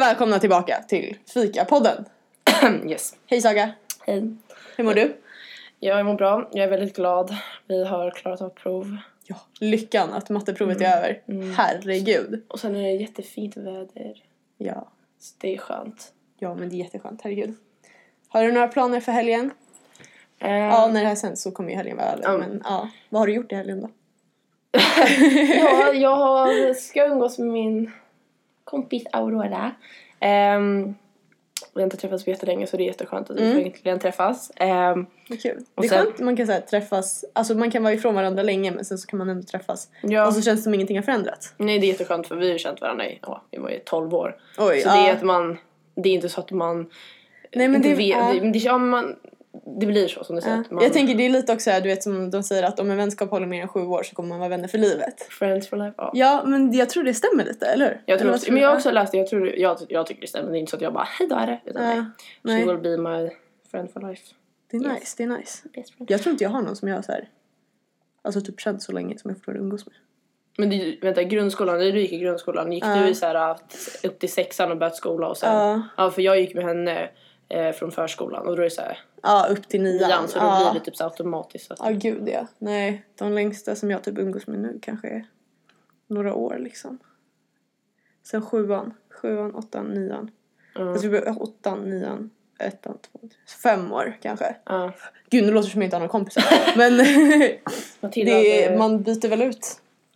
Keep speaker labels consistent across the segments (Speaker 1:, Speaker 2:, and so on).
Speaker 1: välkomna tillbaka till Fika-podden.
Speaker 2: yes.
Speaker 1: Hej Saga,
Speaker 2: Hej.
Speaker 1: hur mår du?
Speaker 2: Ja, jag mår bra. Jag är väldigt glad. Vi har klarat av prov.
Speaker 1: Ja, lyckan att matteprovet är över.
Speaker 2: Mm.
Speaker 1: Herregud.
Speaker 2: Och sen är det jättefint väder.
Speaker 1: Ja.
Speaker 2: Så det är skönt.
Speaker 1: ja, men det är jätteskönt. Herregud. Har du några planer för helgen?
Speaker 2: Eh,
Speaker 1: Ja, när det här sänds så kommer ju helgen vara över.
Speaker 2: Ja.
Speaker 1: Men ja, vad har du gjort i helgen då?
Speaker 2: ja, jag har, ska umgås med min kompis Aurora. Ehm, vi har inte träffats på jättelänge så det är jätteskönt att vi
Speaker 1: Mm.
Speaker 2: får äntligen träffas. Ehm,
Speaker 1: Vad kul.
Speaker 2: Och
Speaker 1: det är
Speaker 2: sen-
Speaker 1: skönt man kan så här, träffas, alltså man kan vara ifrån varandra länge men sen så kan man ändå träffas.
Speaker 2: ja,
Speaker 1: Och Alltså, så känns det som ingenting har förändrats.
Speaker 2: nej, det är jätteskönt för vi har ju känt varandra i, ja, vi var ju 12 år.
Speaker 1: Oj,
Speaker 2: Så det är att man, det är inte så att man
Speaker 1: Nej, men
Speaker 2: inte
Speaker 1: det,
Speaker 2: vet,
Speaker 1: ja.
Speaker 2: det, men det, ja, man, det blir så som du säger.
Speaker 1: Ja.
Speaker 2: Att man,
Speaker 1: Jag tänker det är lite också här, du vet som de säger att om en vänskap håller mer än sju år så kommer man vara vänner för livet.
Speaker 2: Friends for life, ja.
Speaker 1: Ja, men jag tror det stämmer lite, eller hur?
Speaker 2: Jag
Speaker 1: Eller
Speaker 2: tror
Speaker 1: vad
Speaker 2: också, men jag
Speaker 1: du?
Speaker 2: har också läst det, jag, tror, jag, jag tycker det stämmer. Det är inte så att jag bara hej då är det. Utan nej.
Speaker 1: Ja.
Speaker 2: She
Speaker 1: Nej,
Speaker 2: will be my friend for life.
Speaker 1: det är
Speaker 2: Yes.
Speaker 1: nice, det är nice.
Speaker 2: Best friend.
Speaker 1: Jag tror inte jag har någon som jag har så här, alltså typ känt så länge som jag fortfarande umgås med.
Speaker 2: Men du, vänta, grundskolan, när du gick i grundskolan, gick
Speaker 1: Ja.
Speaker 2: du i så här, att- upp till sexan och började skola och sen? Ja.
Speaker 1: Ja,
Speaker 2: för jag gick med henne eh, från förskolan och då är det så här,
Speaker 1: ja upp till nian.
Speaker 2: nian så då
Speaker 1: ja.
Speaker 2: blir det typ så här automatiskt. Så att,
Speaker 1: Ja, gud ja. Nej, de längsta som jag typ umgås med nu kanske är några år liksom. Sen sjuan, sjuan, åttan, nian.
Speaker 2: ja.
Speaker 1: Jag tror det var åttan, nian, ettan, tvåan, tre. fem år kanske.
Speaker 2: ja.
Speaker 1: Gud, nu låter det som jag inte har några kompisar. Men
Speaker 2: Matilda,
Speaker 1: det är,
Speaker 2: det-
Speaker 1: man byter väl ut.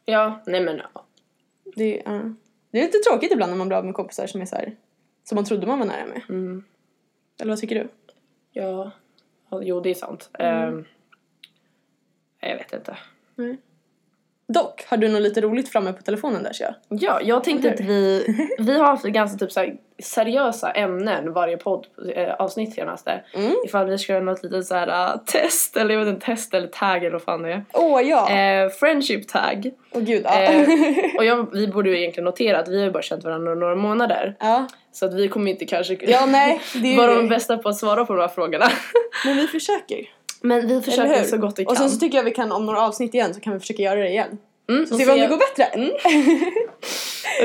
Speaker 2: Ja, nej men ja.
Speaker 1: Det är, ja. det är lite tråkigt ibland när man blir av med kompisar som är så här, som man trodde man var nära med.
Speaker 2: Mm.
Speaker 1: Eller vad tycker du?
Speaker 2: ja. Ja, Jo, det är sant.
Speaker 1: Mm.
Speaker 2: Ehm, jag vet inte.
Speaker 1: Dock, har du något lite roligt framme på telefonen där ser jag?
Speaker 2: Ja, jag tänkte
Speaker 1: Eller
Speaker 2: att
Speaker 1: hur?
Speaker 2: vi, vi har haft ganska typ så här seriösa ämnen varje podd eh, avsnitt senaste.
Speaker 1: Mm.
Speaker 2: Ifall vi ska göra något litet så här eh, test eller jag vet inte test eller tag eller vad fan det är.
Speaker 1: Åh ja!
Speaker 2: Eh, friendship tag.
Speaker 1: Åh gud, ja.
Speaker 2: eh, Och jag, vi borde ju egentligen notera att vi har ju bara känt varandra några månader.
Speaker 1: ja.
Speaker 2: Så att vi kommer inte kanske
Speaker 1: Ja, nej. Det är ju
Speaker 2: vara
Speaker 1: det.
Speaker 2: de bästa på att svara på de här frågorna.
Speaker 1: Men vi försöker.
Speaker 2: Men vi
Speaker 1: Eller
Speaker 2: försöker
Speaker 1: hur?
Speaker 2: så gott vi kan.
Speaker 1: Och sen så tycker jag vi kan om några avsnitt igen så kan vi försöka göra det igen.
Speaker 2: mm,
Speaker 1: Så
Speaker 2: och
Speaker 1: ser vi om
Speaker 2: se-
Speaker 1: det går bättre.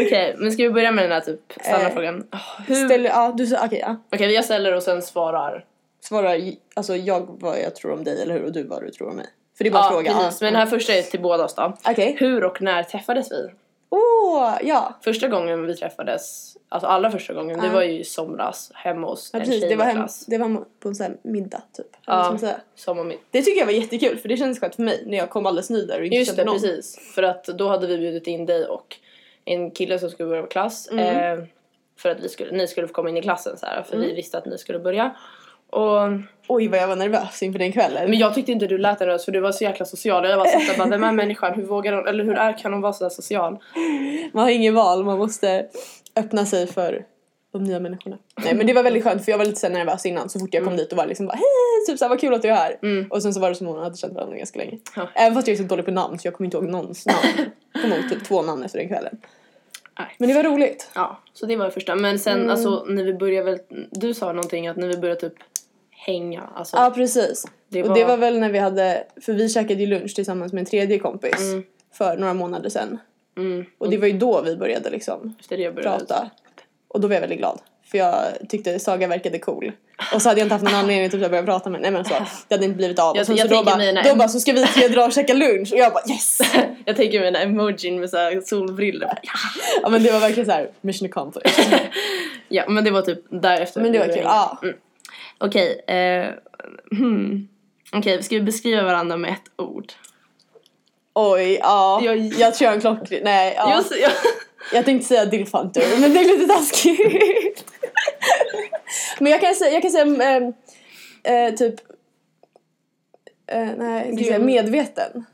Speaker 2: Okej, men ska vi börja med den här typ standardfrågan? Hur...
Speaker 1: Eh, Ställ, ja, du sa, okej ja.
Speaker 2: Okej, jag ställer och sen svarar
Speaker 1: Svara, j- alltså jag vad jag tror om dig eller hur och du vad du tror om mig. För det är bara
Speaker 2: Ja,
Speaker 1: en fråga.
Speaker 2: precis. Men den här första är till båda oss då.
Speaker 1: Okej.
Speaker 2: Hur och när träffades vi?
Speaker 1: Åh, ja.
Speaker 2: Första gången vi träffades, alltså allra första gången, det
Speaker 1: Ja.
Speaker 2: var ju i somras hemma hos
Speaker 1: ja
Speaker 2: en
Speaker 1: precis.
Speaker 2: tjej
Speaker 1: Det
Speaker 2: i
Speaker 1: var,
Speaker 2: vår
Speaker 1: hem,
Speaker 2: klass.
Speaker 1: det var på en sån här middag typ.
Speaker 2: Ja.
Speaker 1: Eller vad ska man säga.
Speaker 2: Som och mitt.
Speaker 1: Det tycker jag var jättekul för det kändes skönt för mig när jag kom alldeles ny där och inte
Speaker 2: Just
Speaker 1: kände
Speaker 2: det,
Speaker 1: någon.
Speaker 2: precis. För att då hade vi bjudit in dig och en kille som skulle börja vår klass.
Speaker 1: Mm.
Speaker 2: Eh, för att vi skulle, ni skulle få komma in i klassen så här, för vi visste att ni skulle börja. Och,
Speaker 1: Oj vad jag var nervös inför den kvällen.
Speaker 2: men jag tyckte inte du lät nervös för du var så jäkla social. Jag bara satt där bara, den här människan, hur vågar hon, eller hur är, kan hon vara så där social?
Speaker 1: Man har ingen val, man måste öppna sig för de nya människorna. Nej men det var väldigt skönt för jag var lite så här nervös innan så fort jag kom dit och var liksom bara hej, typ såhär vad kul att du är här.
Speaker 2: Mm.
Speaker 1: Och sen så var det som om hon hade känt varandra ganska länge.
Speaker 2: Ja.
Speaker 1: Även fast jag är så dålig på namn så jag kommer inte ihåg någons namn. Jag kommer ihåg typ två namn efter den kvällen.
Speaker 2: Nej.
Speaker 1: Men det var roligt.
Speaker 2: Ja, så det var det första. Men sen
Speaker 1: Mm.
Speaker 2: alltså när vi började väl, du sa någonting att när vi började typ hänga, alltså
Speaker 1: Ja precis.
Speaker 2: det
Speaker 1: Och det var väl när vi hade, för vi käkade ju lunch tillsammans med en tredje kompis
Speaker 2: Mm.
Speaker 1: för några månader sedan.
Speaker 2: mm,
Speaker 1: Och det var ju då vi började liksom
Speaker 2: efter det jag började.
Speaker 1: prata. Och då var jag väldigt glad. För jag tyckte Saga verkade cool. Och så hade jag inte haft någon anledning typ, att börja prata med henne. Nej, men så, det hade inte blivit av.
Speaker 2: Jag-
Speaker 1: och sen,
Speaker 2: jag
Speaker 1: så då,
Speaker 2: tänker
Speaker 1: bara,
Speaker 2: mig när-
Speaker 1: då bara, så ska vi tre dra och käka lunch. Och jag bara yes!
Speaker 2: Jag tänker mig den här emojin med så här solbrillor. Ja.
Speaker 1: Ja men det var verkligen så här mission accomplished.
Speaker 2: ja, men det var typ därefter.
Speaker 1: Men det var
Speaker 2: vi
Speaker 1: kul.
Speaker 2: började hänga.
Speaker 1: Ja.
Speaker 2: Mm. Okej, eh, hmm. Okej, ska vi beskriva varandra med ett ord?
Speaker 1: Oj, ja.
Speaker 2: Jag-
Speaker 1: Jag, tror jag har en klockren... Nej, ja.
Speaker 2: Just, ja.
Speaker 1: Jag tänkte säga dillfanter men det är lite taskigt. men jag kan säga, jag kan säga ehm, eh, typ... Eh, nej, jag
Speaker 2: Du-
Speaker 1: ska säga medveten.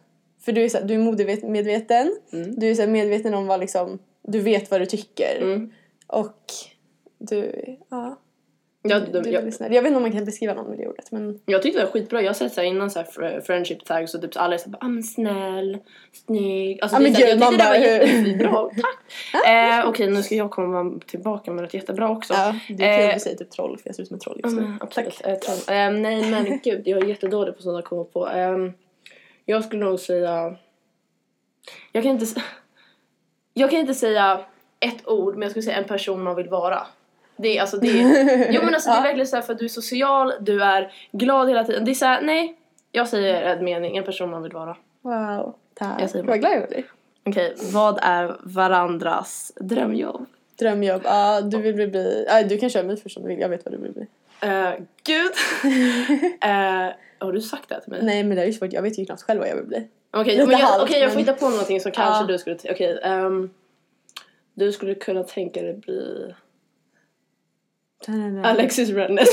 Speaker 1: För du är, så här, du är modemedveten.
Speaker 2: Mm.
Speaker 1: Du är så här, medveten om vad liksom... Du vet vad du tycker.
Speaker 2: Mm.
Speaker 1: Och du... Ja,
Speaker 2: Jag,
Speaker 1: du är
Speaker 2: jag, jag,
Speaker 1: väldigt snäll. Jag vet inte om man kan beskriva någon med det ordet. Men
Speaker 2: jag tyckte det var skitbra. Jag har sett så här innan så här fr- friendship tags och typ så alla är såhär ah, men snäll, snygg. Alltså,
Speaker 1: Ja,
Speaker 2: det är
Speaker 1: men
Speaker 2: så här-
Speaker 1: gud,
Speaker 2: jag
Speaker 1: man
Speaker 2: tyckte det
Speaker 1: bara,
Speaker 2: var
Speaker 1: hur-
Speaker 2: jättebra. Tack! eh, Okej, nu ska jag komma tillbaka med något jättebra också.
Speaker 1: ja, det är kul
Speaker 2: eh,
Speaker 1: att säga typ troll för jag ser ut som ett troll
Speaker 2: Ja,
Speaker 1: just nu.
Speaker 2: men absolut. Eh, tran- Ehm, nej men gud, jag är jättedålig på sådana att komma på. Ehm, jag skulle nog säga... Jag kan inte s- Jag kan inte säga ett ord, men jag skulle säga en person man vill vara. Det är alltså det är, Jo men alltså det är verkligen såhär för att du är social, du är glad hela tiden. Det är såhär, nej. Jag säger en mening, en person man vill vara.
Speaker 1: Wow, tack.
Speaker 2: Jag säger bara-
Speaker 1: Vad glad jag blir.
Speaker 2: Okej, vad är varandras drömjobb?
Speaker 1: Drömjobb. Ja, du vill bli... bli ja, du kan köra mig först om du vill. Jag vet vad du vill bli.
Speaker 2: Eh, gud! Eh, har du sagt det här till mig?
Speaker 1: Nej, men det är ju svårt. Jag vet ju knappt själv vad jag vill bli.
Speaker 2: Okej,
Speaker 1: Lite
Speaker 2: men jag,
Speaker 1: halvt,
Speaker 2: okej, jag får
Speaker 1: men-
Speaker 2: hitta på någonting som kanske
Speaker 1: Ja.
Speaker 2: du skulle... Okej, ehm, du skulle kunna tänka dig bli Alexis Rennes.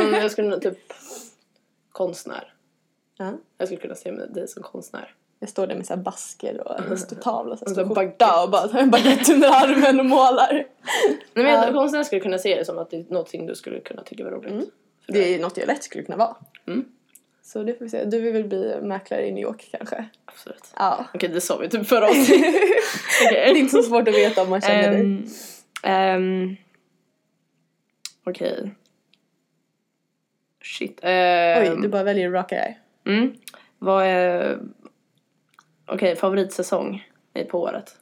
Speaker 2: um, jag skulle nog typ konstnär.
Speaker 1: Ja.
Speaker 2: Jag skulle kunna se mig dig som konstnär.
Speaker 1: Jag står där med så här basker och en stor tavla och så här
Speaker 2: Mm. Och
Speaker 1: stor
Speaker 2: så
Speaker 1: skjorta och bara så här en baguette under armen och målar.
Speaker 2: Nej, men
Speaker 1: Ja. Mm.
Speaker 2: jag konstnär skulle kunna se det som att det är någonting du skulle kunna tycka var roligt. För
Speaker 1: Det är ju något jag lätt skulle kunna vara.
Speaker 2: Mm.
Speaker 1: Så det får vi se. Du vill väl bli mäklare i New York kanske?
Speaker 2: Absolut.
Speaker 1: Ja.
Speaker 2: Okej, det sa vi typ förra oss.
Speaker 1: det är inte så svårt att veta om man känner dig.
Speaker 2: Ehm, ehm, Okej. Shit. ehm,
Speaker 1: Oj, du bara väljer att raka dig.
Speaker 2: Mm. Vad är... Okej, favoritsäsong i- på året?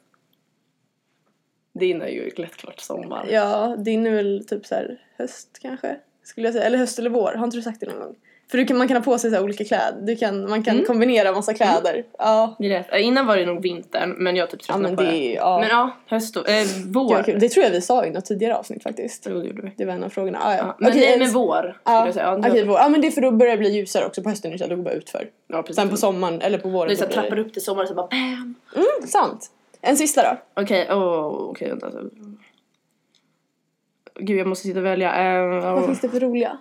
Speaker 2: Din är ju lättklart sommar.
Speaker 1: Ja, din är väl typ så här höst kanske? Skulle jag säga. Eller höst eller vår. Har inte du sagt det någon gång? För du kan, man kan ha på sig så här olika kläder. Du kan, man kan
Speaker 2: Mm.
Speaker 1: kombinera massa kläder. Ja.
Speaker 2: Det är rätt. Eh, Innan var det nog vintern, men jag har typ
Speaker 1: Ja
Speaker 2: tröttnat
Speaker 1: men
Speaker 2: på
Speaker 1: det
Speaker 2: det.
Speaker 1: är ju... Ja.
Speaker 2: Men ja, höst och... Eh,
Speaker 1: Gud,
Speaker 2: vår.
Speaker 1: vad kul. det tror jag vi sa i något tidigare avsnitt faktiskt.
Speaker 2: Jo, det gjorde vi.
Speaker 1: Det var en av frågorna. Ah, ja.
Speaker 2: Ja. Men
Speaker 1: Okej,
Speaker 2: nej,
Speaker 1: jag-
Speaker 2: men vår skulle
Speaker 1: Ja,
Speaker 2: jag säga. Ja,
Speaker 1: Okej, vår. Ja men det är för då börjar det bli ljusare också på hösten istället. Då går det bara utför.
Speaker 2: ja, precis.
Speaker 1: Sen på sommaren eller på våren.
Speaker 2: Nu så här
Speaker 1: då blir det-
Speaker 2: Mm. trappar upp till sommaren så bara bam!
Speaker 1: Mm, sant. En sista då.
Speaker 2: Okej, åh, okej vänta. Så. Gud, jag måste sitta och välja. Eh,
Speaker 1: Vad
Speaker 2: Åh,
Speaker 1: finns det för roliga?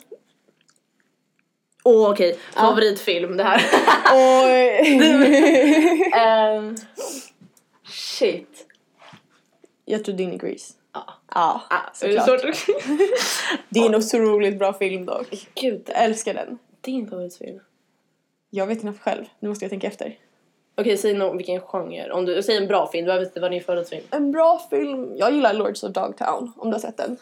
Speaker 2: Åh, okej. Favoritfilm, det här.
Speaker 1: Oj!
Speaker 2: Ehm, shit.
Speaker 1: jag tror din är Grease.
Speaker 2: Ja.
Speaker 1: Ja,
Speaker 2: Ah,
Speaker 1: såklart.
Speaker 2: såklart.
Speaker 1: Det är en otroligt bra film dock.
Speaker 2: Gud,
Speaker 1: Jag älskar den.
Speaker 2: din favoritfilm.
Speaker 1: Jag vet knappt själv. Nu måste jag tänka efter.
Speaker 2: Okej, säg någon, vilken genre. Om du, säg en bra film, du behöver inte vara din favoritfilm.
Speaker 1: En bra film. Jag gillar Lords of Dogtown, om du har sett den.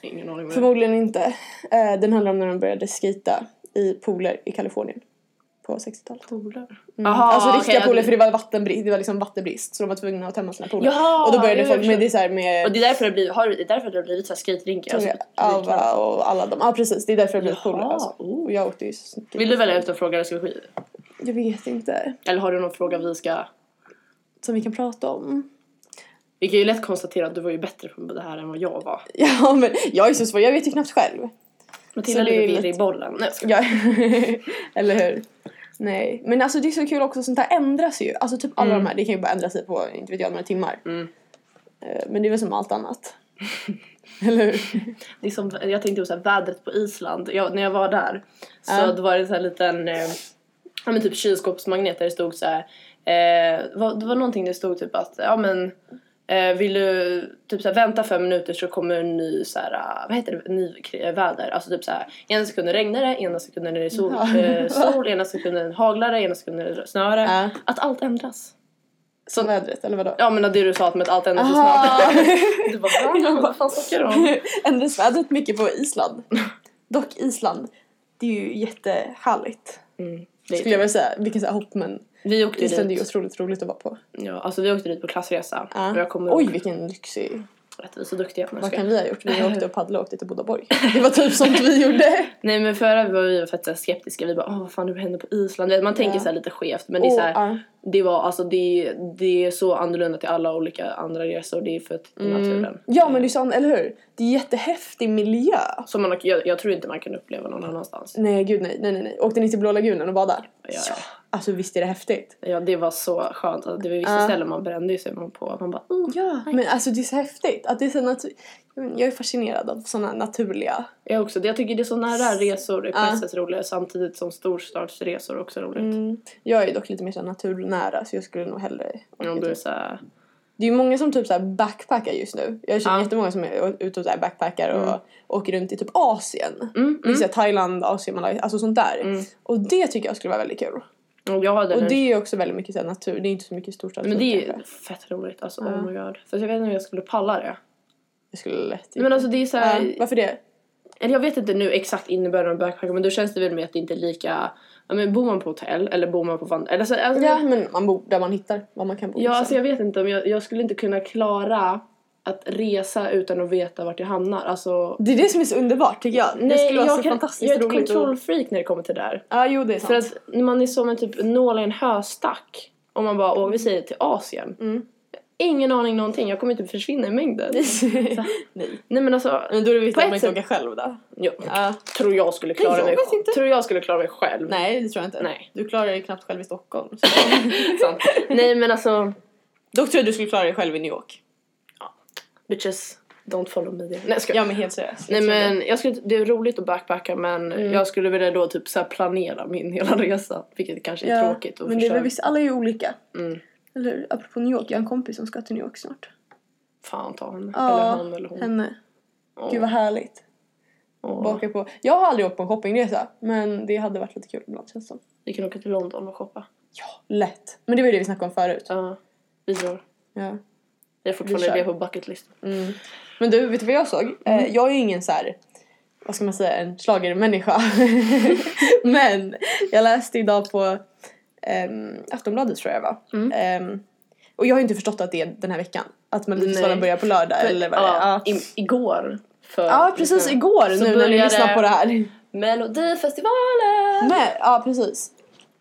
Speaker 2: Ingen aning vad det är.
Speaker 1: Förmodligen inte. Eh, Den handlar om när de började skita i pooler i Kalifornien. På 60-talet.
Speaker 2: Polar.
Speaker 1: Mm.
Speaker 2: Aha,
Speaker 1: alltså riktiga
Speaker 2: okej,
Speaker 1: pooler
Speaker 2: ja,
Speaker 1: för det var vattenbrist, det var liksom vattenbrist så de var tvungna att tömma sina pooler.
Speaker 2: Jaha,
Speaker 1: och då började
Speaker 2: jag
Speaker 1: folk med
Speaker 2: förstår.
Speaker 1: det är så här med
Speaker 2: Och det är därför det blir, har, det är därför det har blivit så här skate-rinkar. Alltså,
Speaker 1: Ava och alla de. Ja ah, precis, det är därför det blir pooler.
Speaker 2: Jaha,
Speaker 1: Alltså.
Speaker 2: oh.
Speaker 1: Och jag åkte ju så-
Speaker 2: Vill du välja ut en fråga eller ska vi skita i det?
Speaker 1: Jag vet inte.
Speaker 2: Eller har du någon fråga vi ska...
Speaker 1: Som vi kan prata om.
Speaker 2: Vi kan ju lätt konstatera att du var ju bättre på det här än vad jag var.
Speaker 1: Ja men jag är så svår, jag vet ju knappt själv.
Speaker 2: Matilda
Speaker 1: Så det är
Speaker 2: ligger
Speaker 1: lätt.
Speaker 2: virrig i bollen. Nej, jag skojar.
Speaker 1: Ja. Eller hur? Nej. Men alltså det är så kul också, sånt här ändras ju. Alltså typ alla
Speaker 2: Mm.
Speaker 1: de här, det kan ju bara ändra sig på, inte vet jag, några timmar.
Speaker 2: Mm.
Speaker 1: Eh, Men det är väl som allt annat. Eller hur?
Speaker 2: Det är som, liksom, jag tänkte på så här, vädret på Island. Jag, när jag var där så
Speaker 1: Ja.
Speaker 2: då var det så här liten eh, ja, men typ kylskåpsmagnet där det stod så här. Eh, vad- det var någonting det stod typ att ja men eh, vill du typ så här, vänta fem minuter så kommer en ny så här, eh, vad heter det, ny kri- eh, väder. Alltså typ så här, ena sekunden regnar det, ena sekunden är det sol,
Speaker 1: Ja.
Speaker 2: eh, sol ena sekunden haglar det, ena sekunden är det snöre.
Speaker 1: Ja.
Speaker 2: Att allt ändras.
Speaker 1: Som vädret, eller vadå?
Speaker 2: Ja men det du sa att med att allt ändras så
Speaker 1: Aha.
Speaker 2: snabbt. Du bara, "Va? vad fan snackar du om?
Speaker 1: Ändras vädret mycket på Island? Dock Island, det är ju jättehärligt.
Speaker 2: Mm, det, typ-
Speaker 1: Skulle jag vilja säga. Vilken så här hopp men
Speaker 2: vi åkte
Speaker 1: Island är
Speaker 2: dit.
Speaker 1: ju otroligt roligt att vara på.
Speaker 2: Ja, alltså vi åkte dit på klassresa.
Speaker 1: Ja.
Speaker 2: Och jag kommer
Speaker 1: Oj
Speaker 2: ihåg
Speaker 1: vilken lyxig.
Speaker 2: att vi är så duktiga. när jag
Speaker 1: Vad
Speaker 2: ska-
Speaker 1: kan vi ha gjort? Vi åkte och paddlade och åkte till Bodaborg. Det var typ sånt vi gjorde.
Speaker 2: Nej men förra var vi fett så här skeptiska. Vi bara åh vad fan det händer på Island. Du vet, Man tänker
Speaker 1: Ja.
Speaker 2: så här lite skevt men det är så här,
Speaker 1: Och,
Speaker 2: det var alltså det, det är så annorlunda till alla olika andra resor. Det är för att i
Speaker 1: Mm.
Speaker 2: naturen.
Speaker 1: Ja men det är sånt, eller hur? Det är jättehäftig miljö.
Speaker 2: Som man, jag, jag tror inte man kan uppleva någon annanstans.
Speaker 1: Nej gud nej, nej nej nej. Åkte ni till Blå lagunen och badade?
Speaker 2: Ja.
Speaker 1: Alltså visst är det häftigt?
Speaker 2: Ja det var så skönt. Alltså, det var vissa
Speaker 1: Ja.
Speaker 2: ställen man brände ju sig man på. Man bara oh.
Speaker 1: Ja. Men alltså det är så häftigt. Att det är så natur- jag vet inte, jag är fascinerad av såna naturliga.
Speaker 2: Jag också. Jag tycker det är så nära resor är på
Speaker 1: Ja. Mm.
Speaker 2: ett sätt roligare samtidigt som storstadsresor också är roligt.
Speaker 1: Jag är dock lite mer så här naturnära så jag skulle nog hellre...
Speaker 2: Om du är så här,
Speaker 1: Det är ju många som typ så här backpackar just nu. Jag känner
Speaker 2: Ja.
Speaker 1: jättemånga som är ute och så här backpackar och åker runt i typ Asien.
Speaker 2: mm,
Speaker 1: Det är
Speaker 2: mm.
Speaker 1: så här Thailand, Asien, Malaysia, alltså sånt där.
Speaker 2: Mm.
Speaker 1: Och det tycker jag skulle vara väldigt kul.
Speaker 2: Och jag hade
Speaker 1: Och
Speaker 2: den
Speaker 1: det är ju också väldigt mycket så här natur, det är inte så mycket storstad.
Speaker 2: Men det är ju fett roligt alltså. Oh my god. Fast jag vet inte om jag skulle palla det.
Speaker 1: Jag skulle lätt...
Speaker 2: Men alltså det är såhär.
Speaker 1: Ja, varför det?
Speaker 2: Eller jag vet inte nu exakt innebörden av backpacker men då känns det väl mer att det inte är lika. Ja men bor man på hotell eller bor man på van... Eller så, alltså,
Speaker 1: Ja, men man bor där man hittar vad man kan bo.
Speaker 2: Ja
Speaker 1: liksom.
Speaker 2: alltså jag vet inte om jag, jag skulle inte kunna klara att resa utan att veta vart jag hamnar. Alltså,
Speaker 1: Det är det som är så underbart tycker jag. det skulle vara så fantastiskt
Speaker 2: jag är ett
Speaker 1: roligt att-
Speaker 2: kontrollfreak när det kommer till det där.
Speaker 1: Ja, jo det är sant.
Speaker 2: För att när man är som en typ nål i en höstack. Om man bara, åh vi säger till Asien.
Speaker 1: Mm.
Speaker 2: Ingen aning någonting, jag kommer typ försvinna i mängden.
Speaker 1: Nej.
Speaker 2: Nej men alltså,
Speaker 1: Men då är det viktigt
Speaker 2: På
Speaker 1: att man
Speaker 2: ett
Speaker 1: inte
Speaker 2: sätt-
Speaker 1: åker själv då.
Speaker 2: jag
Speaker 1: Ja.
Speaker 2: tror jag skulle klara
Speaker 1: Jag
Speaker 2: mig
Speaker 1: vet inte.
Speaker 2: Tror jag skulle klara mig själv.
Speaker 1: Nej, det tror jag inte.
Speaker 2: Nej.
Speaker 1: Du klarar dig knappt själv i Stockholm. Så.
Speaker 2: Sant. Nej men alltså,
Speaker 1: Dock tror jag du skulle klara dig själv i New York.
Speaker 2: bitches don't follow me. Nej jag skojar.
Speaker 1: Ja men helt seriöst.
Speaker 2: Nej
Speaker 1: Jag tror
Speaker 2: men jag skulle, det är roligt att backpacka men
Speaker 1: Mm.
Speaker 2: jag skulle vilja då typ så här planera min hela resa. Vilket kanske
Speaker 1: det.
Speaker 2: är tråkigt och
Speaker 1: Men det är
Speaker 2: förstöra.
Speaker 1: väl visst, alla är ju olika.
Speaker 2: Mm.
Speaker 1: Eller hur? Apropå New York, jag har en kompis som ska till New York snart.
Speaker 2: Fan ta henne.
Speaker 1: Ja,
Speaker 2: Eller han eller hon.
Speaker 1: Henne.
Speaker 2: Åh,
Speaker 1: Gud vad härligt.
Speaker 2: åh.
Speaker 1: Baka på. Jag har aldrig åkt på en shoppingresa. Men det hade varit lite kul ibland känns det som.
Speaker 2: Vi kan åka till London och shoppa.
Speaker 1: Ja, lätt. Men det var ju det vi snackade om förut.
Speaker 2: Ja, vi drar.
Speaker 1: Ja.
Speaker 2: Det är
Speaker 1: Vi
Speaker 2: fortfarande
Speaker 1: kör.
Speaker 2: det på bucketlisten.
Speaker 1: Mm. Men du, vet du vad jag såg?
Speaker 2: Mm.
Speaker 1: Eh, jag är ju ingen så här, vad ska man säga, en schlagermänniska. Men jag läste idag på ehm, Aftonbladet tror jag det var.
Speaker 2: Mm.
Speaker 1: Ehm, och jag har ju inte förstått att det är den här veckan. Att Melodifestivalen
Speaker 2: Nej.
Speaker 1: börjar på lördag eller vad det är.
Speaker 2: ja,
Speaker 1: Ja.
Speaker 2: i, igår. För,
Speaker 1: Ja precis,
Speaker 2: för-
Speaker 1: igår
Speaker 2: Så
Speaker 1: nu när ni
Speaker 2: började-
Speaker 1: lyssnar på det här.
Speaker 2: Melodifestivalen!
Speaker 1: Men, ja precis.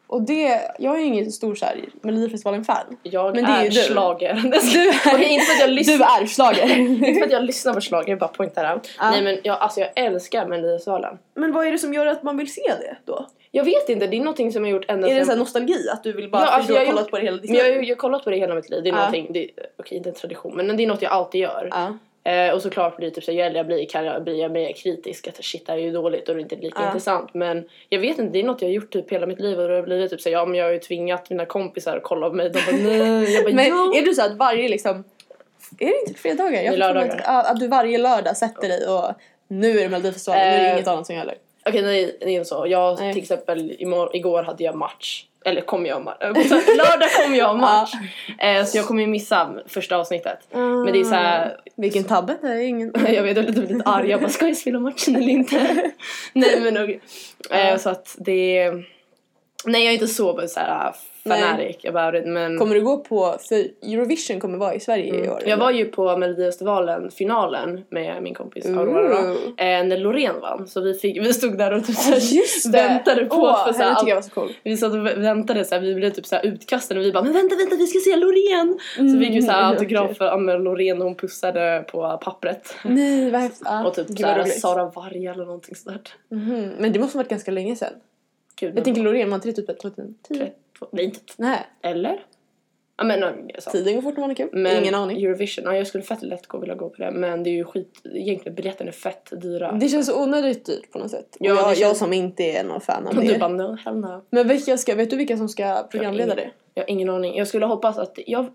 Speaker 1: Och det, jag är ju ingen stor så här Melodifestivalen-fan.
Speaker 2: Jag
Speaker 1: Men det är
Speaker 2: är,
Speaker 1: ju du.
Speaker 2: schlager.
Speaker 1: Du är-
Speaker 2: Okej, inte för att jag lyssnar.
Speaker 1: Du är schlager.
Speaker 2: Inte för att jag lyssnar på schlager, jag bara poängterar.
Speaker 1: Ja.
Speaker 2: Nej men jag, alltså jag älskar Melodifestivalen.
Speaker 1: Men vad är det som gör att man vill se det då?
Speaker 2: Jag vet inte, det är någonting som jag gjort ända
Speaker 1: Är det
Speaker 2: sedan...
Speaker 1: så här nostalgi? Att du vill bara,
Speaker 2: Ja,
Speaker 1: för
Speaker 2: alltså,
Speaker 1: du har
Speaker 2: jag har
Speaker 1: kollat
Speaker 2: gjort-
Speaker 1: på det hela ditt
Speaker 2: men jag, har
Speaker 1: liv?
Speaker 2: ju- jag har kollat på det hela mitt liv, det är
Speaker 1: Ja.
Speaker 2: någonting, det, okej inte en tradition men det är något jag alltid gör.
Speaker 1: Ja.
Speaker 2: Eh, och såklart blir det typ så här, ju äldre jag blir kan jag bli mer kritisk att shit det här är ju dåligt och det är inte lika
Speaker 1: Ja.
Speaker 2: intressant. Men jag vet inte, det är något jag har gjort typ hela mitt liv och då blir det typ så här, ja men jag har ju tvingat mina kompisar att kolla på mig. De bara nej, jag bara
Speaker 1: Men
Speaker 2: jo.
Speaker 1: är du så att varje liksom... Är det inte fredagar?
Speaker 2: Det är
Speaker 1: får för mig
Speaker 2: lördagar.
Speaker 1: Att, ja, att du varje lördag sätter dig och nu är det Melodifestivalen, nu är det
Speaker 2: Eh.
Speaker 1: inget annat som gäller.
Speaker 2: Okej nej, det är inte så. Jag
Speaker 1: Nej.
Speaker 2: till exempel imor- igår hade jag match. Eller kom jag ha match? Eh, så här, Lördag kom jag ha match. Eh, så jag kommer ju missa första avsnittet. Men det är så här,
Speaker 1: Vilken tabbe, det är ingen...
Speaker 2: jag vet jag blev typ lite arg. Jag bara ska jag spela matchen eller inte? nej men okej. Eh, så att det Nej jag är inte så, så här
Speaker 1: Nej.
Speaker 2: fanatic about it men
Speaker 1: Kommer du gå på... För Eurovision kommer vara i Sverige i år.
Speaker 2: Mm. Jag var ju på Melodifestivalen finalen med min kompis Aurora då,
Speaker 1: Ooh.
Speaker 2: eh, när Loreen vann så vi, fick, vi stod där och typ så
Speaker 1: Ja,
Speaker 2: här,
Speaker 1: Just det!
Speaker 2: väntade på
Speaker 1: Åh,
Speaker 2: för så
Speaker 1: henne
Speaker 2: här,
Speaker 1: tycker jag var
Speaker 2: allt-
Speaker 1: så cool.
Speaker 2: vi satt och vä- väntade så här, vi blev typ så här utkastade och vi bara men vänta vänta vi ska se Loreen! Så fick vi så här
Speaker 1: Mm,
Speaker 2: autografer av med Loreen och hon pussade på pappret
Speaker 1: Nej, vad häftigt. Ja,
Speaker 2: och typ
Speaker 1: gud
Speaker 2: så
Speaker 1: vad
Speaker 2: här,
Speaker 1: roligt.
Speaker 2: Sara Varg eller någonting sådär.
Speaker 1: Mhm, Men det måste ha varit ganska länge sedan.
Speaker 2: Gud,
Speaker 1: Jag tänker Loreen, man inte typ 2010?
Speaker 2: tre, två, nej inte två,
Speaker 1: Nej,
Speaker 2: eller? Ja men nej, så.
Speaker 1: tiden går fort när man har kul.
Speaker 2: Men
Speaker 1: Typ. Ingen aning.
Speaker 2: Eurovision, ja, jag skulle fett lätt gå vilja gå på det men det är ju skit, egentligen biljetten är fett dyra.
Speaker 1: Det känns så onödigt dyrt på något sätt.
Speaker 2: Ja,
Speaker 1: och jag,
Speaker 2: det känns-
Speaker 1: jag som inte är någon fan av
Speaker 2: Och
Speaker 1: det.
Speaker 2: du bara no, hell no.
Speaker 1: Men vilka ska, vet du vilka som ska programleda det?
Speaker 2: Jag har ingen aning. Jag skulle hoppas att... Jag,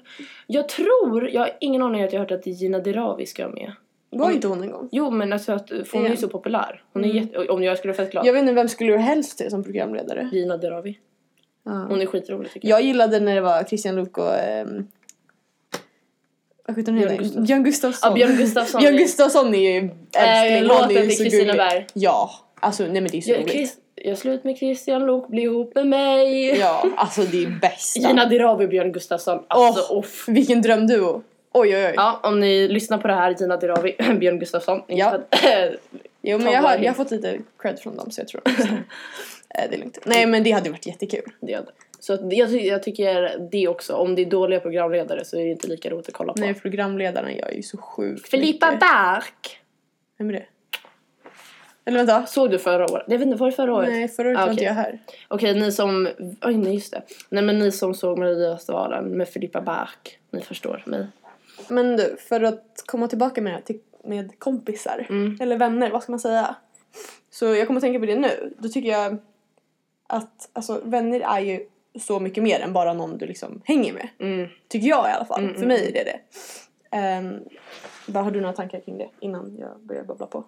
Speaker 2: jag tror... Jag har ingen aning att jag har hört att Gina Dirawi ska vara med.
Speaker 1: Var
Speaker 2: Mm.
Speaker 1: inte hon en gång?
Speaker 2: Jo, men alltså att för hon är
Speaker 1: Ja.
Speaker 2: ju så populär. Hon är
Speaker 1: Mm.
Speaker 2: jätte, om jag skulle vara fett glad.
Speaker 1: Jag vet inte, vem skulle du helst se som programledare?
Speaker 2: Gina Dirawi. Hon är skitrolig tycker jag.
Speaker 1: Jag gillade när det var Christian Luuk och... ehm, Vad skjuter hon
Speaker 2: Björn
Speaker 1: heter? Björn Gustafsson.
Speaker 2: Gustafsson. Ja, Alltså. Björn Gustafsson.
Speaker 1: Björn Gustafsson är ju älskling.
Speaker 2: Eh,
Speaker 1: Han är
Speaker 2: låten
Speaker 1: ju
Speaker 2: till
Speaker 1: så
Speaker 2: Kristina
Speaker 1: gullig.
Speaker 2: Berg.
Speaker 1: Ja, alltså nej men det är så
Speaker 2: Jag,
Speaker 1: roligt.
Speaker 2: Chris, jag slut med Christian Lok, bli ihop med mig.
Speaker 1: Ja, alltså det är bästa.
Speaker 2: Gina Dirawi och Björn Gustafsson. Alltså, uff.
Speaker 1: Vilken drömduo. Oj oj oj.
Speaker 2: Ja, om ni lyssnar på det här, Gina Dirawi, Björn Gustafsson. Inte
Speaker 1: Ja.
Speaker 2: för att-
Speaker 1: Jo men
Speaker 2: Ta
Speaker 1: jag har,
Speaker 2: varje.
Speaker 1: jag har fått lite cred från dem så jag tror de fixar det. Eh, Det är lugnt. Nej men det hade varit jättekul.
Speaker 2: det gör det. Så att jag, ty- jag tycker det också. Om det är dåliga programledare så är det inte lika roligt att kolla på.
Speaker 1: Nej programledaren gör ju så sjukt
Speaker 2: Filippa
Speaker 1: mycket.
Speaker 2: Bark!
Speaker 1: Vem är det? Eller vänta.
Speaker 2: Såg du förra året? Jag vet inte, var det förra året?
Speaker 1: Nej, förra året
Speaker 2: Ah,
Speaker 1: var inte
Speaker 2: okej.
Speaker 1: jag här.
Speaker 2: Okej, ni som... Oj, nej just det. Nej men ni som såg Melodifestivalen med Filippa Bark, ni förstår mig.
Speaker 1: Men du, för att komma tillbaka med, det här till- med kompisar,
Speaker 2: Mm.
Speaker 1: eller vänner, vad ska man säga? Så jag kommer att tänka på det nu. Då tycker jag att alltså, vänner är ju så mycket mer än bara någon du liksom hänger med.
Speaker 2: Mm.
Speaker 1: Tycker jag i alla fall.
Speaker 2: Mm,
Speaker 1: För
Speaker 2: mm,
Speaker 1: mig är det det. Ehm, vad har du några tankar kring det innan jag börjar babbla på?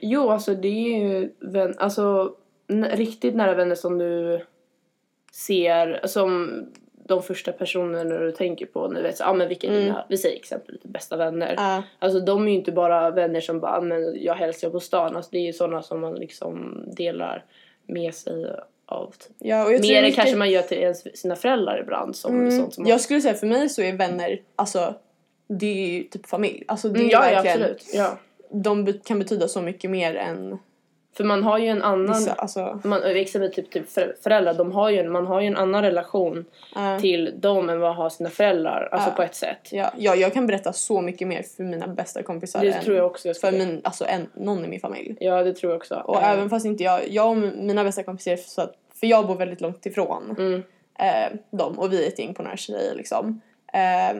Speaker 2: Jo, alltså det är ju vän, alltså, n- riktigt nära vänner som du ser som de första personerna du tänker på. Nu vet så, ah, men vilka är
Speaker 1: Mm.
Speaker 2: dina, vi säger exempelvis bästa vänner.
Speaker 1: Ja,
Speaker 2: Alltså de är ju inte bara vänner som bara, "Ah, men jag hälsar på stan. Alltså det är ju sådana som man liksom delar med sig av. Typ.
Speaker 1: ja, och jag tror
Speaker 2: Mer än
Speaker 1: mycket-
Speaker 2: kanske man gör till ens, sina föräldrar ibland. Som,
Speaker 1: Mm,
Speaker 2: sånt som man,
Speaker 1: jag skulle säga för mig så är vänner alltså det är ju typ familj. Alltså det är
Speaker 2: Mm,
Speaker 1: ju
Speaker 2: ja, ja,
Speaker 1: verkligen,
Speaker 2: absolut. Ja.
Speaker 1: de be- kan betyda så mycket mer än
Speaker 2: För man har ju en annan...
Speaker 1: vissa. Alltså,
Speaker 2: Man, exempelvis typ, typ för- föräldrar, de har ju en, man har ju en annan relation
Speaker 1: eh,
Speaker 2: till dem än vad har sina föräldrar. Alltså
Speaker 1: Ja.
Speaker 2: på ett sätt.
Speaker 1: ja, ja, jag kan berätta så mycket mer för mina bästa kompisar
Speaker 2: Det
Speaker 1: än
Speaker 2: tror jag också jag
Speaker 1: för
Speaker 2: skulle.
Speaker 1: min, alltså, en, någon i min familj.
Speaker 2: Ja, det tror jag också.
Speaker 1: Och
Speaker 2: Eh,
Speaker 1: även fast inte jag, jag och mina bästa kompisar, så att, för jag bor väldigt långt ifrån
Speaker 2: Mm.
Speaker 1: eh, dem och vi är ett gäng på några tjejer liksom. Eh,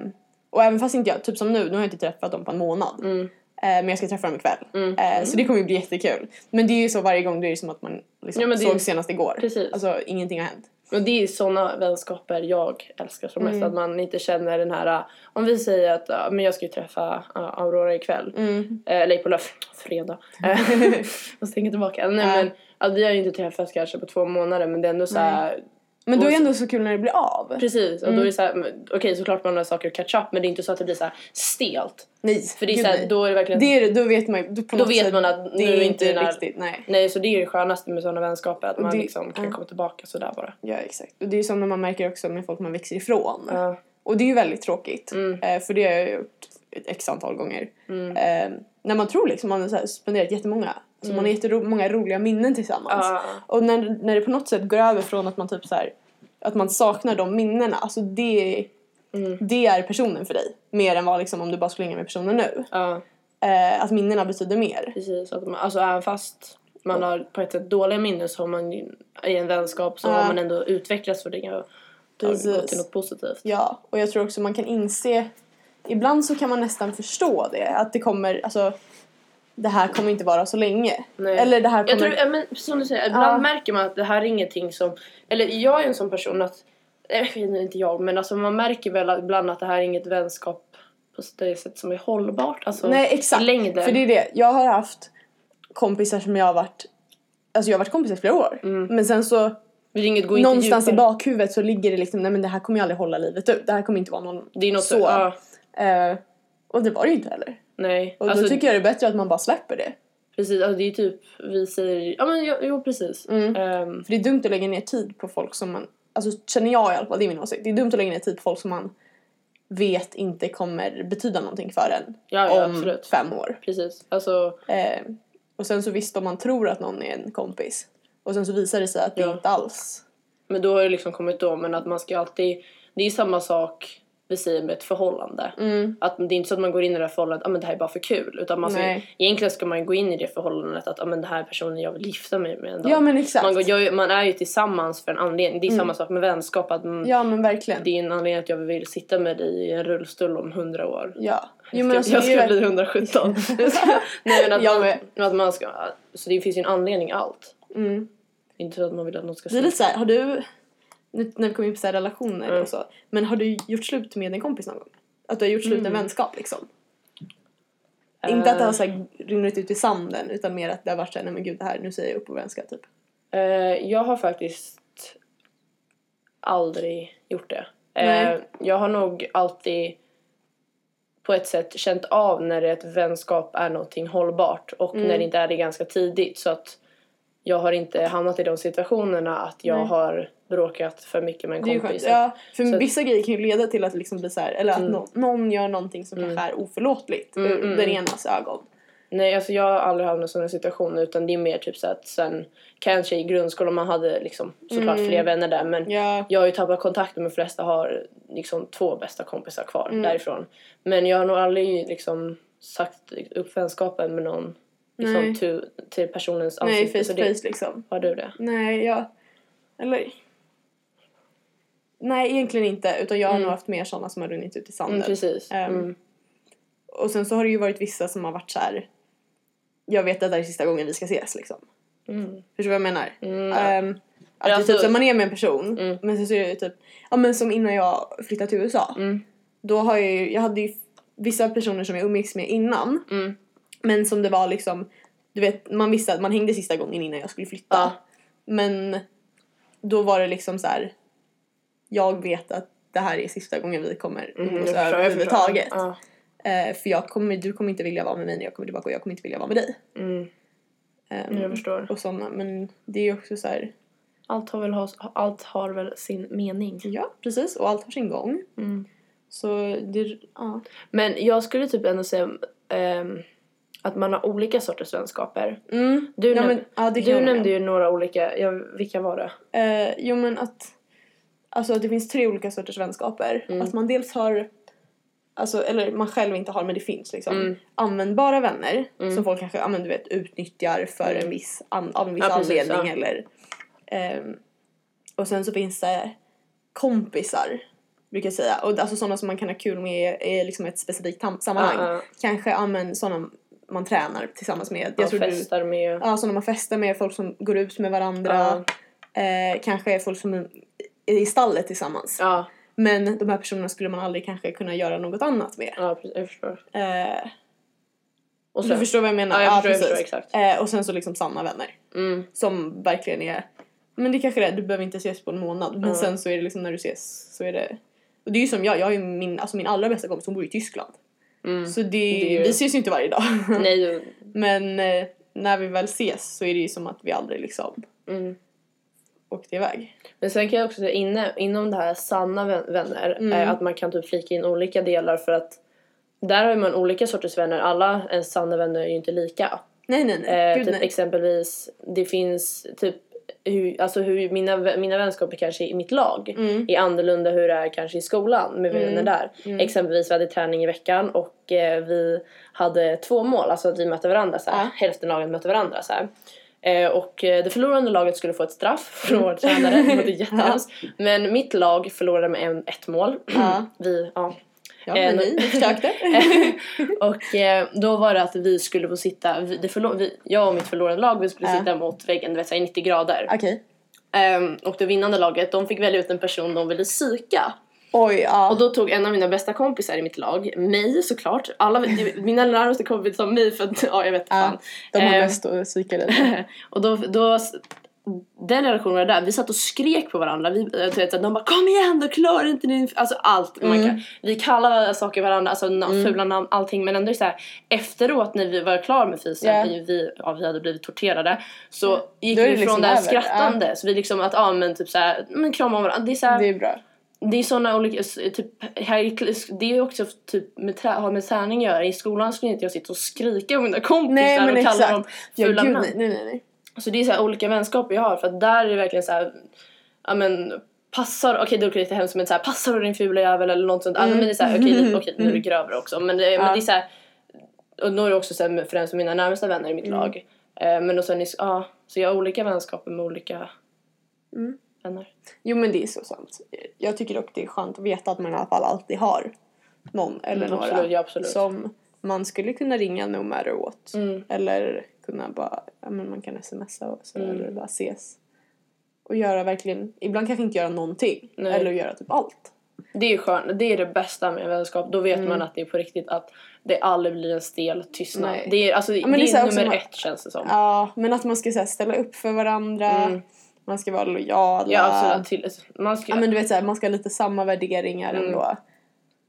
Speaker 1: och även fast inte jag, typ som nu, nu har jag inte träffat dem på en månad.
Speaker 2: Mm.
Speaker 1: Eh, men jag ska träffa dem ikväll.
Speaker 2: Mm.
Speaker 1: Eh, Så det kommer ju bli jättekul. Men det är ju så varje gång, det är ju som att man liksom
Speaker 2: Ja, men det-
Speaker 1: såg senast igår.
Speaker 2: Precis.
Speaker 1: Alltså ingenting har hänt.
Speaker 2: Och det är sådana vänskaper jag älskar som
Speaker 1: Mm.
Speaker 2: mest. Att man inte känner den här, eh, om vi säger att ja, men jag ska ju träffa ja, Aurora ikväll.
Speaker 1: Mm.
Speaker 2: Eh, Eller på löf, fredag. Eh, Måste tänka tillbaka. Nej,
Speaker 1: Ja.
Speaker 2: men, ja, vi har ju inte träffats kanske på två månader men det är ändå så här,
Speaker 1: Men då är
Speaker 2: Och-
Speaker 1: det ändå så kul när det blir av.
Speaker 2: precis.
Speaker 1: Mm.
Speaker 2: Och då är det så här, men, okej såklart man har saker att catch up men det är inte så att det blir så här stelt.
Speaker 1: Nej,
Speaker 2: För det är
Speaker 1: gud,
Speaker 2: så här,
Speaker 1: nej.
Speaker 2: då är det verkligen,
Speaker 1: det är det, då vet man ju- då, på
Speaker 2: då
Speaker 1: något
Speaker 2: vet
Speaker 1: sätt,
Speaker 2: man att
Speaker 1: det
Speaker 2: nu
Speaker 1: är
Speaker 2: inte
Speaker 1: inte
Speaker 2: den här,
Speaker 1: riktigt, nej.
Speaker 2: Nej så det är det skönaste med sådana vänskaper att man
Speaker 1: det-
Speaker 2: liksom kan
Speaker 1: ja.
Speaker 2: komma tillbaka sådär bara.
Speaker 1: Ja exakt. Och det är ju som när man märker också med folk man växer ifrån.
Speaker 2: Ja.
Speaker 1: Och det är ju väldigt tråkigt.
Speaker 2: Mm.
Speaker 1: Eh, för det har jag gjort ett x antal gånger.
Speaker 2: Mm.
Speaker 1: Eh, när man tror liksom man har så här spenderat jättemånga, alltså man har jättemånga roliga minnen tillsammans.
Speaker 2: Mm. Ja.
Speaker 1: Och när, när det på något sätt går över från att man typ så här, att man saknar de minnena, alltså det,
Speaker 2: Mm.
Speaker 1: det är personen för dig. Mer än vad liksom om du bara skulle hänga med personen nu.
Speaker 2: Ja.
Speaker 1: Eh, att minnena betyder mer.
Speaker 2: Precis, att man, alltså även fast man har på ett sätt dåliga minnen så har man ju, i en vänskap så
Speaker 1: Ja.
Speaker 2: har man ändå utvecklats och det kan- det har gått
Speaker 1: Precis.
Speaker 2: till något positivt.
Speaker 1: Ja, och jag tror också man kan inse, ibland så kan man nästan förstå det, att det kommer, alltså det här kommer inte vara så länge.
Speaker 2: Nej.
Speaker 1: Eller det här kommer...
Speaker 2: Jag tror, ja, men som du säger, ibland
Speaker 1: Ja.
Speaker 2: märker man att det här är ingenting som, eller jag är en sån person att, nej nu är inte jag, men alltså man märker väl att- ibland att det här är inget vänskap på det sätt som är hållbart. Alltså,
Speaker 1: Nej exakt.
Speaker 2: i längden.
Speaker 1: För det är det. Jag har haft kompisar som jag har varit Alltså jag har varit kompisar i flera år. Men sen så
Speaker 2: det är inget gå Mm. inte
Speaker 1: någonstans
Speaker 2: djupare.
Speaker 1: i bakhuvudet så ligger det liksom nej men det här kommer jag aldrig hålla livet ut. Det här kommer inte vara någon
Speaker 2: Det är något
Speaker 1: så.
Speaker 2: så. Ja,
Speaker 1: Eh, och det var det ju inte heller.
Speaker 2: nej.
Speaker 1: Och
Speaker 2: Alltså,
Speaker 1: då tycker jag det är bättre att man bara släpper det.
Speaker 2: Precis, alltså det är typ, vi säger, ja men jo, jo precis.
Speaker 1: Mm.
Speaker 2: Ehm,
Speaker 1: För det är dumt att lägga ner tid på folk som man Alltså känner jag i alla fall, det är min åsikt. Det är dumt att lägga ner tid på folk som man vet inte kommer betyda någonting för en
Speaker 2: ja, ja
Speaker 1: om
Speaker 2: absolut.
Speaker 1: fem år.
Speaker 2: Precis. Alltså,
Speaker 1: Eh, och sen så visst om man tror att någon är en kompis och sen så visar det sig att det
Speaker 2: Ja.
Speaker 1: inte alls.
Speaker 2: men då har det liksom kommit då, men att man ska alltid... Det är samma sak vi säger med ett förhållande.
Speaker 1: Mm.
Speaker 2: Att det är inte så att man går in i det här förhållandet, ah, men det här är bara för kul. Utan man ska,
Speaker 1: Nej.
Speaker 2: egentligen ska man ju gå in i det förhållandet att ah, men det här är personen jag vill gifta mig med en dag.
Speaker 1: Ja men exakt. Mm.
Speaker 2: man, går, gör ju- man är ju tillsammans för en anledning. Det är samma sak med vänskap. Att, mm,
Speaker 1: Ja men verkligen.
Speaker 2: Det är en anledning att jag vill sitta med dig i en rullstol om hundra år.
Speaker 1: Ja. Jo,
Speaker 2: Jag
Speaker 1: men
Speaker 2: ska,
Speaker 1: alltså,
Speaker 2: jag
Speaker 1: det är
Speaker 2: ska
Speaker 1: ju-
Speaker 2: bli 117. Nej men att,
Speaker 1: Jag
Speaker 2: man, att man ska... Så det finns ju en anledning allt.
Speaker 1: mm.
Speaker 2: Det är inte så att man vill att någon ska
Speaker 1: Det är lite såhär, har du, nu när vi kommer in på så här relationer
Speaker 2: Mm.
Speaker 1: och så, men har du gjort slut med en kompis någon gång? Att du har gjort slut
Speaker 2: Mm.
Speaker 1: en vänskap liksom? Inte
Speaker 2: Eh.
Speaker 1: att det har så här runnit ut i sanden utan mer att det har varit såhär, nej men gud det här, nu säger jag upp vår vänskap typ.
Speaker 2: Eh, jag har faktiskt aldrig gjort det. Eh,
Speaker 1: Nej.
Speaker 2: jag har nog alltid på ett sätt känt av när ett vänskap är någonting hållbart och när
Speaker 1: Mm.
Speaker 2: det inte är det ganska tidigt. Så att jag har inte hamnat i de situationerna att jag
Speaker 1: Nej.
Speaker 2: har bråkat för mycket med en
Speaker 1: Det är ju
Speaker 2: kompis.
Speaker 1: skönt. Ja, för
Speaker 2: Så att- Mm.
Speaker 1: vissa grejer kan ju leda till att liksom bli så här, eller att nå- någon gör någonting som kanske är oförlåtligt ur den enas ögon.
Speaker 2: Nej, alltså jag har aldrig hamnat i sådana situationer utan det är mer typ så att sen kanske i grundskolan man hade liksom såklart fler vänner där men
Speaker 1: Mm. Ja.
Speaker 2: Jag har ju tappat kontakten med de flesta har liksom två bästa kompisar kvar
Speaker 1: Mm.
Speaker 2: därifrån. Men jag har nog aldrig liksom sagt upp vänskapen med någon liksom
Speaker 1: Nej.
Speaker 2: till, till personens
Speaker 1: Nej,
Speaker 2: ansikte.
Speaker 1: face
Speaker 2: så
Speaker 1: to
Speaker 2: det,
Speaker 1: face liksom.
Speaker 2: har du det?
Speaker 1: Nej, jag... Eller... Nej, egentligen inte. Utan jag har nog haft mer sådana som har runnit ut i sanden.
Speaker 2: Mm, precis.
Speaker 1: Ehm,
Speaker 2: mm.
Speaker 1: Och sen så har det ju varit vissa som har varit så här. Jag vet att det här är sista gången vi ska ses liksom.
Speaker 2: Mm.
Speaker 1: Förstår du vad jag menar?
Speaker 2: Mm,
Speaker 1: Ehm, att
Speaker 2: Alltså- Mm.
Speaker 1: det är typ så här, man är med en person. Men sen så är det ju typ... Ja men som innan jag flyttade till USA.
Speaker 2: Mm.
Speaker 1: Då har jag ju... Jag hade ju vissa personer som jag umgicks med innan.
Speaker 2: Mm.
Speaker 1: Men som det var liksom... Du vet, man visste att man hängde sista gången innan jag skulle flytta.
Speaker 2: Ja.
Speaker 1: Men då var det liksom så här. Jag vet att det här är sista gången vi kommer umgås
Speaker 2: Mm, jag förstår, jag förstår.
Speaker 1: Mm, överhuvudtaget.
Speaker 2: Ja.
Speaker 1: Eh, för jag kommer, du kommer inte vilja vara med mig när jag kommer tillbaka och jag kommer inte vilja vara med dig.
Speaker 2: Mm.
Speaker 1: Ehm,
Speaker 2: Jag förstår.
Speaker 1: och sådana. Men det är ju också så här.
Speaker 2: Allt har, väl, ha- allt har väl sin mening.
Speaker 1: Ja, precis. Och allt har sin gång.
Speaker 2: Mm.
Speaker 1: Så det, ja.
Speaker 2: Men jag skulle typ ändå säga ehm, att man har olika sorters vänskaper.
Speaker 1: Mm.
Speaker 2: Du,
Speaker 1: ja,
Speaker 2: näm-
Speaker 1: men, ja, det kan
Speaker 2: du
Speaker 1: jag
Speaker 2: nämnde
Speaker 1: ju.
Speaker 2: ju några olika, ja, vilka var det?
Speaker 1: Eh, jo men att, alltså att det finns tre olika sorters vänskaper.
Speaker 2: Mm.
Speaker 1: Att man dels har, alltså, eller man själv inte har men det finns liksom.
Speaker 2: Mm.
Speaker 1: Användbara vänner
Speaker 2: Mm.
Speaker 1: som folk kanske ja, men, du vet, utnyttjar för en viss an, av en viss
Speaker 2: Ja, precis,
Speaker 1: anledning.
Speaker 2: ja.
Speaker 1: Eller, ehm, och sen så finns det kompisar. Brukar jag säga. Och alltså sådana som man kan ha kul med i liksom ett specifikt tam- sammanhang.
Speaker 2: Ja, ja.
Speaker 1: Kanske ja, men, sådana man tränar tillsammans med.
Speaker 2: Jag
Speaker 1: Jag tror du,
Speaker 2: festar med...
Speaker 1: Ja, sådana Alltså man festar med, folk som går ut med varandra. Eh, kanske är folk som är i stallet tillsammans.
Speaker 2: Ja,
Speaker 1: Men de här personerna skulle man aldrig kanske kunna göra något annat med.
Speaker 2: ja, precis, jag förstår.
Speaker 1: Eh,
Speaker 2: Och
Speaker 1: du
Speaker 2: sen,
Speaker 1: förstår vad jag menar?
Speaker 2: Ja, jag förstår, jag förstår, exakt.
Speaker 1: Eh, och sen så liksom sanna vänner.
Speaker 2: Mm,
Speaker 1: Som verkligen är... Men det är kanske det, är, du behöver inte ses på en månad. Men
Speaker 2: Ja.
Speaker 1: sen så är det liksom när du ses så är det... Och det är ju som jag, jag har ju min, alltså min allra bästa kompis, hon bor i Tyskland.
Speaker 2: mm.
Speaker 1: Så det,
Speaker 2: Det är ju-
Speaker 1: vi ses ju inte varje dag.
Speaker 2: Nej, du-
Speaker 1: Men eh, när vi väl ses så är det ju som att vi aldrig liksom
Speaker 2: mm.
Speaker 1: åkte iväg.
Speaker 2: Men sen kan jag också säga inne, inom det här sanna vän- vänner,
Speaker 1: Mm.
Speaker 2: eh, att man kan typ flika in olika delar för att där har ju man olika sorters vänner, alla ens sanna vänner är ju inte lika.
Speaker 1: Nej, nej, nej.
Speaker 2: Eh,
Speaker 1: Gud,
Speaker 2: typ
Speaker 1: nej.
Speaker 2: exempelvis, det finns typ hur, alltså hur mina, vä- mina vänskaper kanske i mitt lag
Speaker 1: Mm.
Speaker 2: är annorlunda hur det är kanske i skolan med vänner
Speaker 1: Mm.
Speaker 2: där.
Speaker 1: Mm.
Speaker 2: Exempelvis vi hade träning i veckan och eh, vi hade två mål, alltså att vi mötte varandra så här.
Speaker 1: Ja.
Speaker 2: hälften av lagen mötte varandra så här. Eh, och eh, det förlorande laget skulle få ett straff från
Speaker 1: Mm.
Speaker 2: vår tränare, det låter jättehemskt. Men mitt lag förlorade med en, ett mål.
Speaker 1: Ja.
Speaker 2: Vi, ja.
Speaker 1: Ja, men
Speaker 2: Eh,
Speaker 1: ni
Speaker 2: nu-
Speaker 1: försökte.
Speaker 2: och eh, då var det att vi skulle få sitta, vi, det förlo- vi, jag och mitt förlorande lag vi skulle
Speaker 1: Ja.
Speaker 2: sitta mot väggen, du vet såhär i 90 grader.
Speaker 1: Okej.
Speaker 2: Ehm, och det vinnande laget, de fick välja ut en person de ville psyka.
Speaker 1: Oj, ja.
Speaker 2: Och då tog en av mina bästa kompisar i mitt lag, mig såklart, alla mina närmaste kompisar sa mig för att, ja jag vet
Speaker 1: Ja,
Speaker 2: fan.
Speaker 1: de har
Speaker 2: Ehm,
Speaker 1: bäst att psyka dig.
Speaker 2: och då, då, den relationen var där, vi satt och skrek på varandra. Vi, jag vet, att de bara kom igen, då klarar inte ni, alltså allt. Man
Speaker 1: Mm.
Speaker 2: kan, vi kallar saker varandra, alltså na- fula namn, allting. Men ändå så här, efteråt när vi var klara med fysen,
Speaker 1: Ja.
Speaker 2: vi, vi, ja, vi hade blivit torterade, så gick
Speaker 1: Då är det
Speaker 2: vi från
Speaker 1: liksom
Speaker 2: det här
Speaker 1: över,
Speaker 2: skrattande. Så vi liksom att, ja men typ så här, men kramar varandra. Det är så här,
Speaker 1: Det är bra.
Speaker 2: det är såna olika, s- typ, här, i- det är också typ med, trä- har med träning att göra. I skolan skulle inte jag sitta och skrika om mina kompisar
Speaker 1: Nej, men
Speaker 2: och kalla
Speaker 1: exakt.
Speaker 2: dem
Speaker 1: Ja,
Speaker 2: fula
Speaker 1: gud,
Speaker 2: namn.
Speaker 1: nej, nej, nej, nej.
Speaker 2: Så det är så här olika vänskaper jag har för att där är det verkligen så här, ja men passar, okej det låter lite hemskt men så här, passar du din fula jävel eller något sånt. Alltså, men det är så här, okej lite- okej, nu är det grövre också men det, men
Speaker 1: Mm. Ja.
Speaker 2: det är så här, och då är det också så här, främst mina närmaste vänner i mitt
Speaker 1: Mm.
Speaker 2: lag. Eh, men och sen, är- ja, så jag har olika vänskaper med olika
Speaker 1: Mm.
Speaker 2: vänner.
Speaker 1: Jo, men det är så sant. Jag tycker dock det är skönt att veta att man i alla fall alltid har någon eller
Speaker 2: Mm,
Speaker 1: några
Speaker 2: absolut, ja, absolut.
Speaker 1: som man skulle kunna ringa no matter what.
Speaker 2: Mm.
Speaker 1: Eller kunna bara, ja men man kan smsa och så
Speaker 2: Mm.
Speaker 1: eller bara ses. Och göra verkligen, ibland kanske inte göra någonting.
Speaker 2: Nej.
Speaker 1: Eller göra typ allt.
Speaker 2: Det är skönt, det är det bästa med vänskap. Då vet
Speaker 1: Mm.
Speaker 2: man att det är på riktigt att det aldrig blir en stel tystnad.
Speaker 1: Nej.
Speaker 2: Det är, alltså,
Speaker 1: men
Speaker 2: det
Speaker 1: det är
Speaker 2: är,
Speaker 1: så här också
Speaker 2: nummer
Speaker 1: man-
Speaker 2: ett känns det som.
Speaker 1: Ja, men att man ska så här, ställa upp för varandra.
Speaker 2: Mm.
Speaker 1: Man ska vara lojala.
Speaker 2: Ja, alltså, till, man ska,
Speaker 1: Ja men du vet såhär, man ska ha lite samma värderingar
Speaker 2: Mm.
Speaker 1: ändå.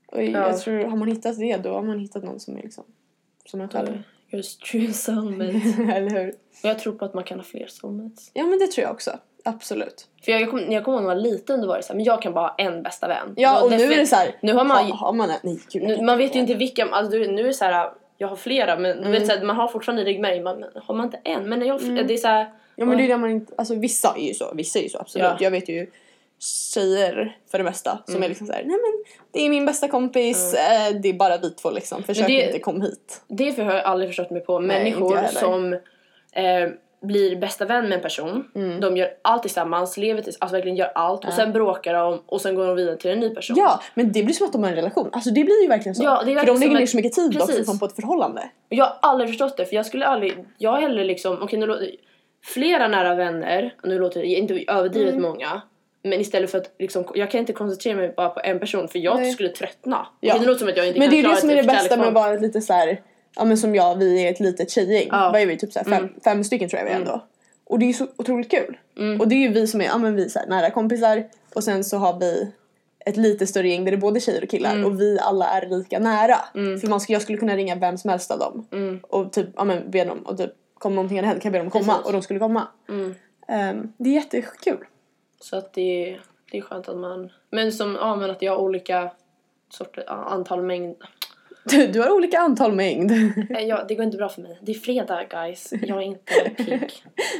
Speaker 1: Och
Speaker 2: Ja.
Speaker 1: jag tror, har man hittat det då har man hittat någon som är liksom som en själv.
Speaker 2: Just true soulmates.
Speaker 1: Eller hur?
Speaker 2: Och jag tror på att man kan ha fler soulmates.
Speaker 1: Ja men det tror jag också. Absolut.
Speaker 2: För jag, jag kommer jag kom ihåg när jag var liten, då var det så här, men jag kan bara ha en bästa vän.
Speaker 1: Ja
Speaker 2: Då-
Speaker 1: och nu
Speaker 2: därför-
Speaker 1: är det såhär,
Speaker 2: Nu har man,
Speaker 1: ha, har man en? Nej gud. jag
Speaker 2: nu,
Speaker 1: kan
Speaker 2: man vet
Speaker 1: ha
Speaker 2: ju
Speaker 1: en.
Speaker 2: inte vilka, alltså, du- nu är det så här, jag har flera men du
Speaker 1: Mm.
Speaker 2: vet så här, man har fortfarande i ryggmärgen, man, men har man inte en? Men jag, det är så här,
Speaker 1: Ja men det är det man inte, alltså vissa är ju så, vissa är ju så absolut.
Speaker 2: Ja. Mm.
Speaker 1: Jag vet ju tjejer för det mesta som är liksom såhär, nej men det är min bästa kompis, eh, det är bara vi två liksom. Försök
Speaker 2: det-
Speaker 1: inte kom hit.
Speaker 2: Det har jag aldrig förstått mig på.
Speaker 1: Nej, inte
Speaker 2: Människor
Speaker 1: jag heller.
Speaker 2: som eh, blir bästa vän med en person.
Speaker 1: Mm.
Speaker 2: De gör allt tillsammans, lever tillsammans, alltså verkligen gör allt. Och sen bråkar de och sen går de vidare till en ny person.
Speaker 1: Ja men det blir som att de har en relation, alltså det blir ju verkligen så.
Speaker 2: Ja, det
Speaker 1: för
Speaker 2: är verkligen
Speaker 1: de
Speaker 2: som
Speaker 1: lägger liksom- ner
Speaker 2: ett-
Speaker 1: så mycket tid också
Speaker 2: Precis.
Speaker 1: som på ett förhållande.
Speaker 2: Och Jag har aldrig förstått det för jag skulle aldrig, jag har hellre liksom, okej nu låter flera nära vänner, och nu låter det inte överdrivet
Speaker 1: Mm.
Speaker 2: många. Men istället för att liksom, jag kan inte koncentrera mig bara på en person för jag
Speaker 1: Nej.
Speaker 2: skulle tröttna.
Speaker 1: Ja.
Speaker 2: Okej, det låter som att jag inte
Speaker 1: Men
Speaker 2: kan
Speaker 1: det är ju
Speaker 2: klara
Speaker 1: det som är
Speaker 2: typ
Speaker 1: det bästa med
Speaker 2: kärleksfall.
Speaker 1: att vara ett lite så här, ja men som jag, vi är ett litet tjejgäng.
Speaker 2: Ja.
Speaker 1: Vad är vi? Typ så här, fem, fem stycken tror jag vi är
Speaker 2: Mm.
Speaker 1: ändå. Och det är ju så otroligt kul. Och det är ju vi som är, ja men vi är så här, nära kompisar och sen så har vi ett lite större gäng där det är både tjejer och killar
Speaker 2: Mm.
Speaker 1: och vi alla är lika nära. För man skulle, jag skulle kunna ringa vem som helst av dem
Speaker 2: Mm.
Speaker 1: och typ, ja men be dem och typ kom någonting hade hänt kan jag be dem komma
Speaker 2: Precis.
Speaker 1: och de skulle komma.
Speaker 2: Mm.
Speaker 1: Ehm, det är jättekul.
Speaker 2: Så att det, det är skönt att man... Men som, ja men att jag har olika sorter, ja, antal mängd.
Speaker 1: Du, du har olika antal mängd.
Speaker 2: Eh, ja, det går inte bra för mig. Det är fredag guys. Jag är inte pigg.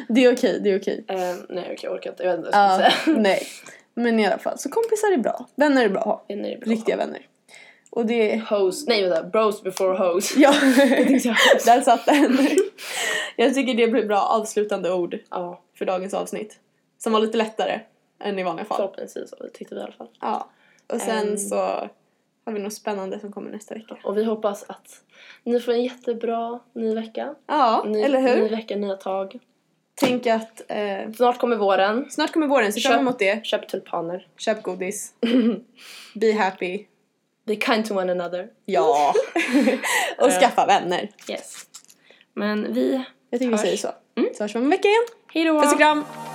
Speaker 1: Det är okej, det är okej.
Speaker 2: Eh, nej okej, jag orkar inte. Jag vet inte vad jag
Speaker 1: Ja,
Speaker 2: ska säga.
Speaker 1: nej. Men i alla fall, så kompisar är bra. Vänner är bra att ha.
Speaker 2: Vänner är bra.
Speaker 1: Riktiga vänner. Och det...
Speaker 2: Hoes, nej vänta, bros before hoes.
Speaker 1: Ja,
Speaker 2: tänkte säga hoes.
Speaker 1: där satt den. Jag tycker det blir bra avslutande ord
Speaker 2: Ja,
Speaker 1: för dagens avsnitt. Som var lite lättare än i vanliga fall.
Speaker 2: förhoppningsvis tyckte vi i alla fall.
Speaker 1: Ja. Och sen
Speaker 2: Ehm.
Speaker 1: så har vi något spännande som kommer nästa vecka.
Speaker 2: Och vi hoppas att ni får en jättebra ny vecka.
Speaker 1: Ja,
Speaker 2: Ny,
Speaker 1: eller hur?
Speaker 2: Ny vecka, nya tag.
Speaker 1: Tänk att eh,
Speaker 2: Snart kommer våren.
Speaker 1: snart kommer våren, så
Speaker 2: Köp-
Speaker 1: fram emot det.
Speaker 2: Köp tulpaner.
Speaker 1: Köp godis. Be happy.
Speaker 2: Be kind to one another.
Speaker 1: Ja. och
Speaker 2: Eh.
Speaker 1: skaffa vänner.
Speaker 2: Yes. Men vi...
Speaker 1: Jag tycker
Speaker 2: Hörs.
Speaker 1: Mm. vi säger så. Så hörs vi om en vecka igen.
Speaker 2: Hej då!
Speaker 1: Puss och kram!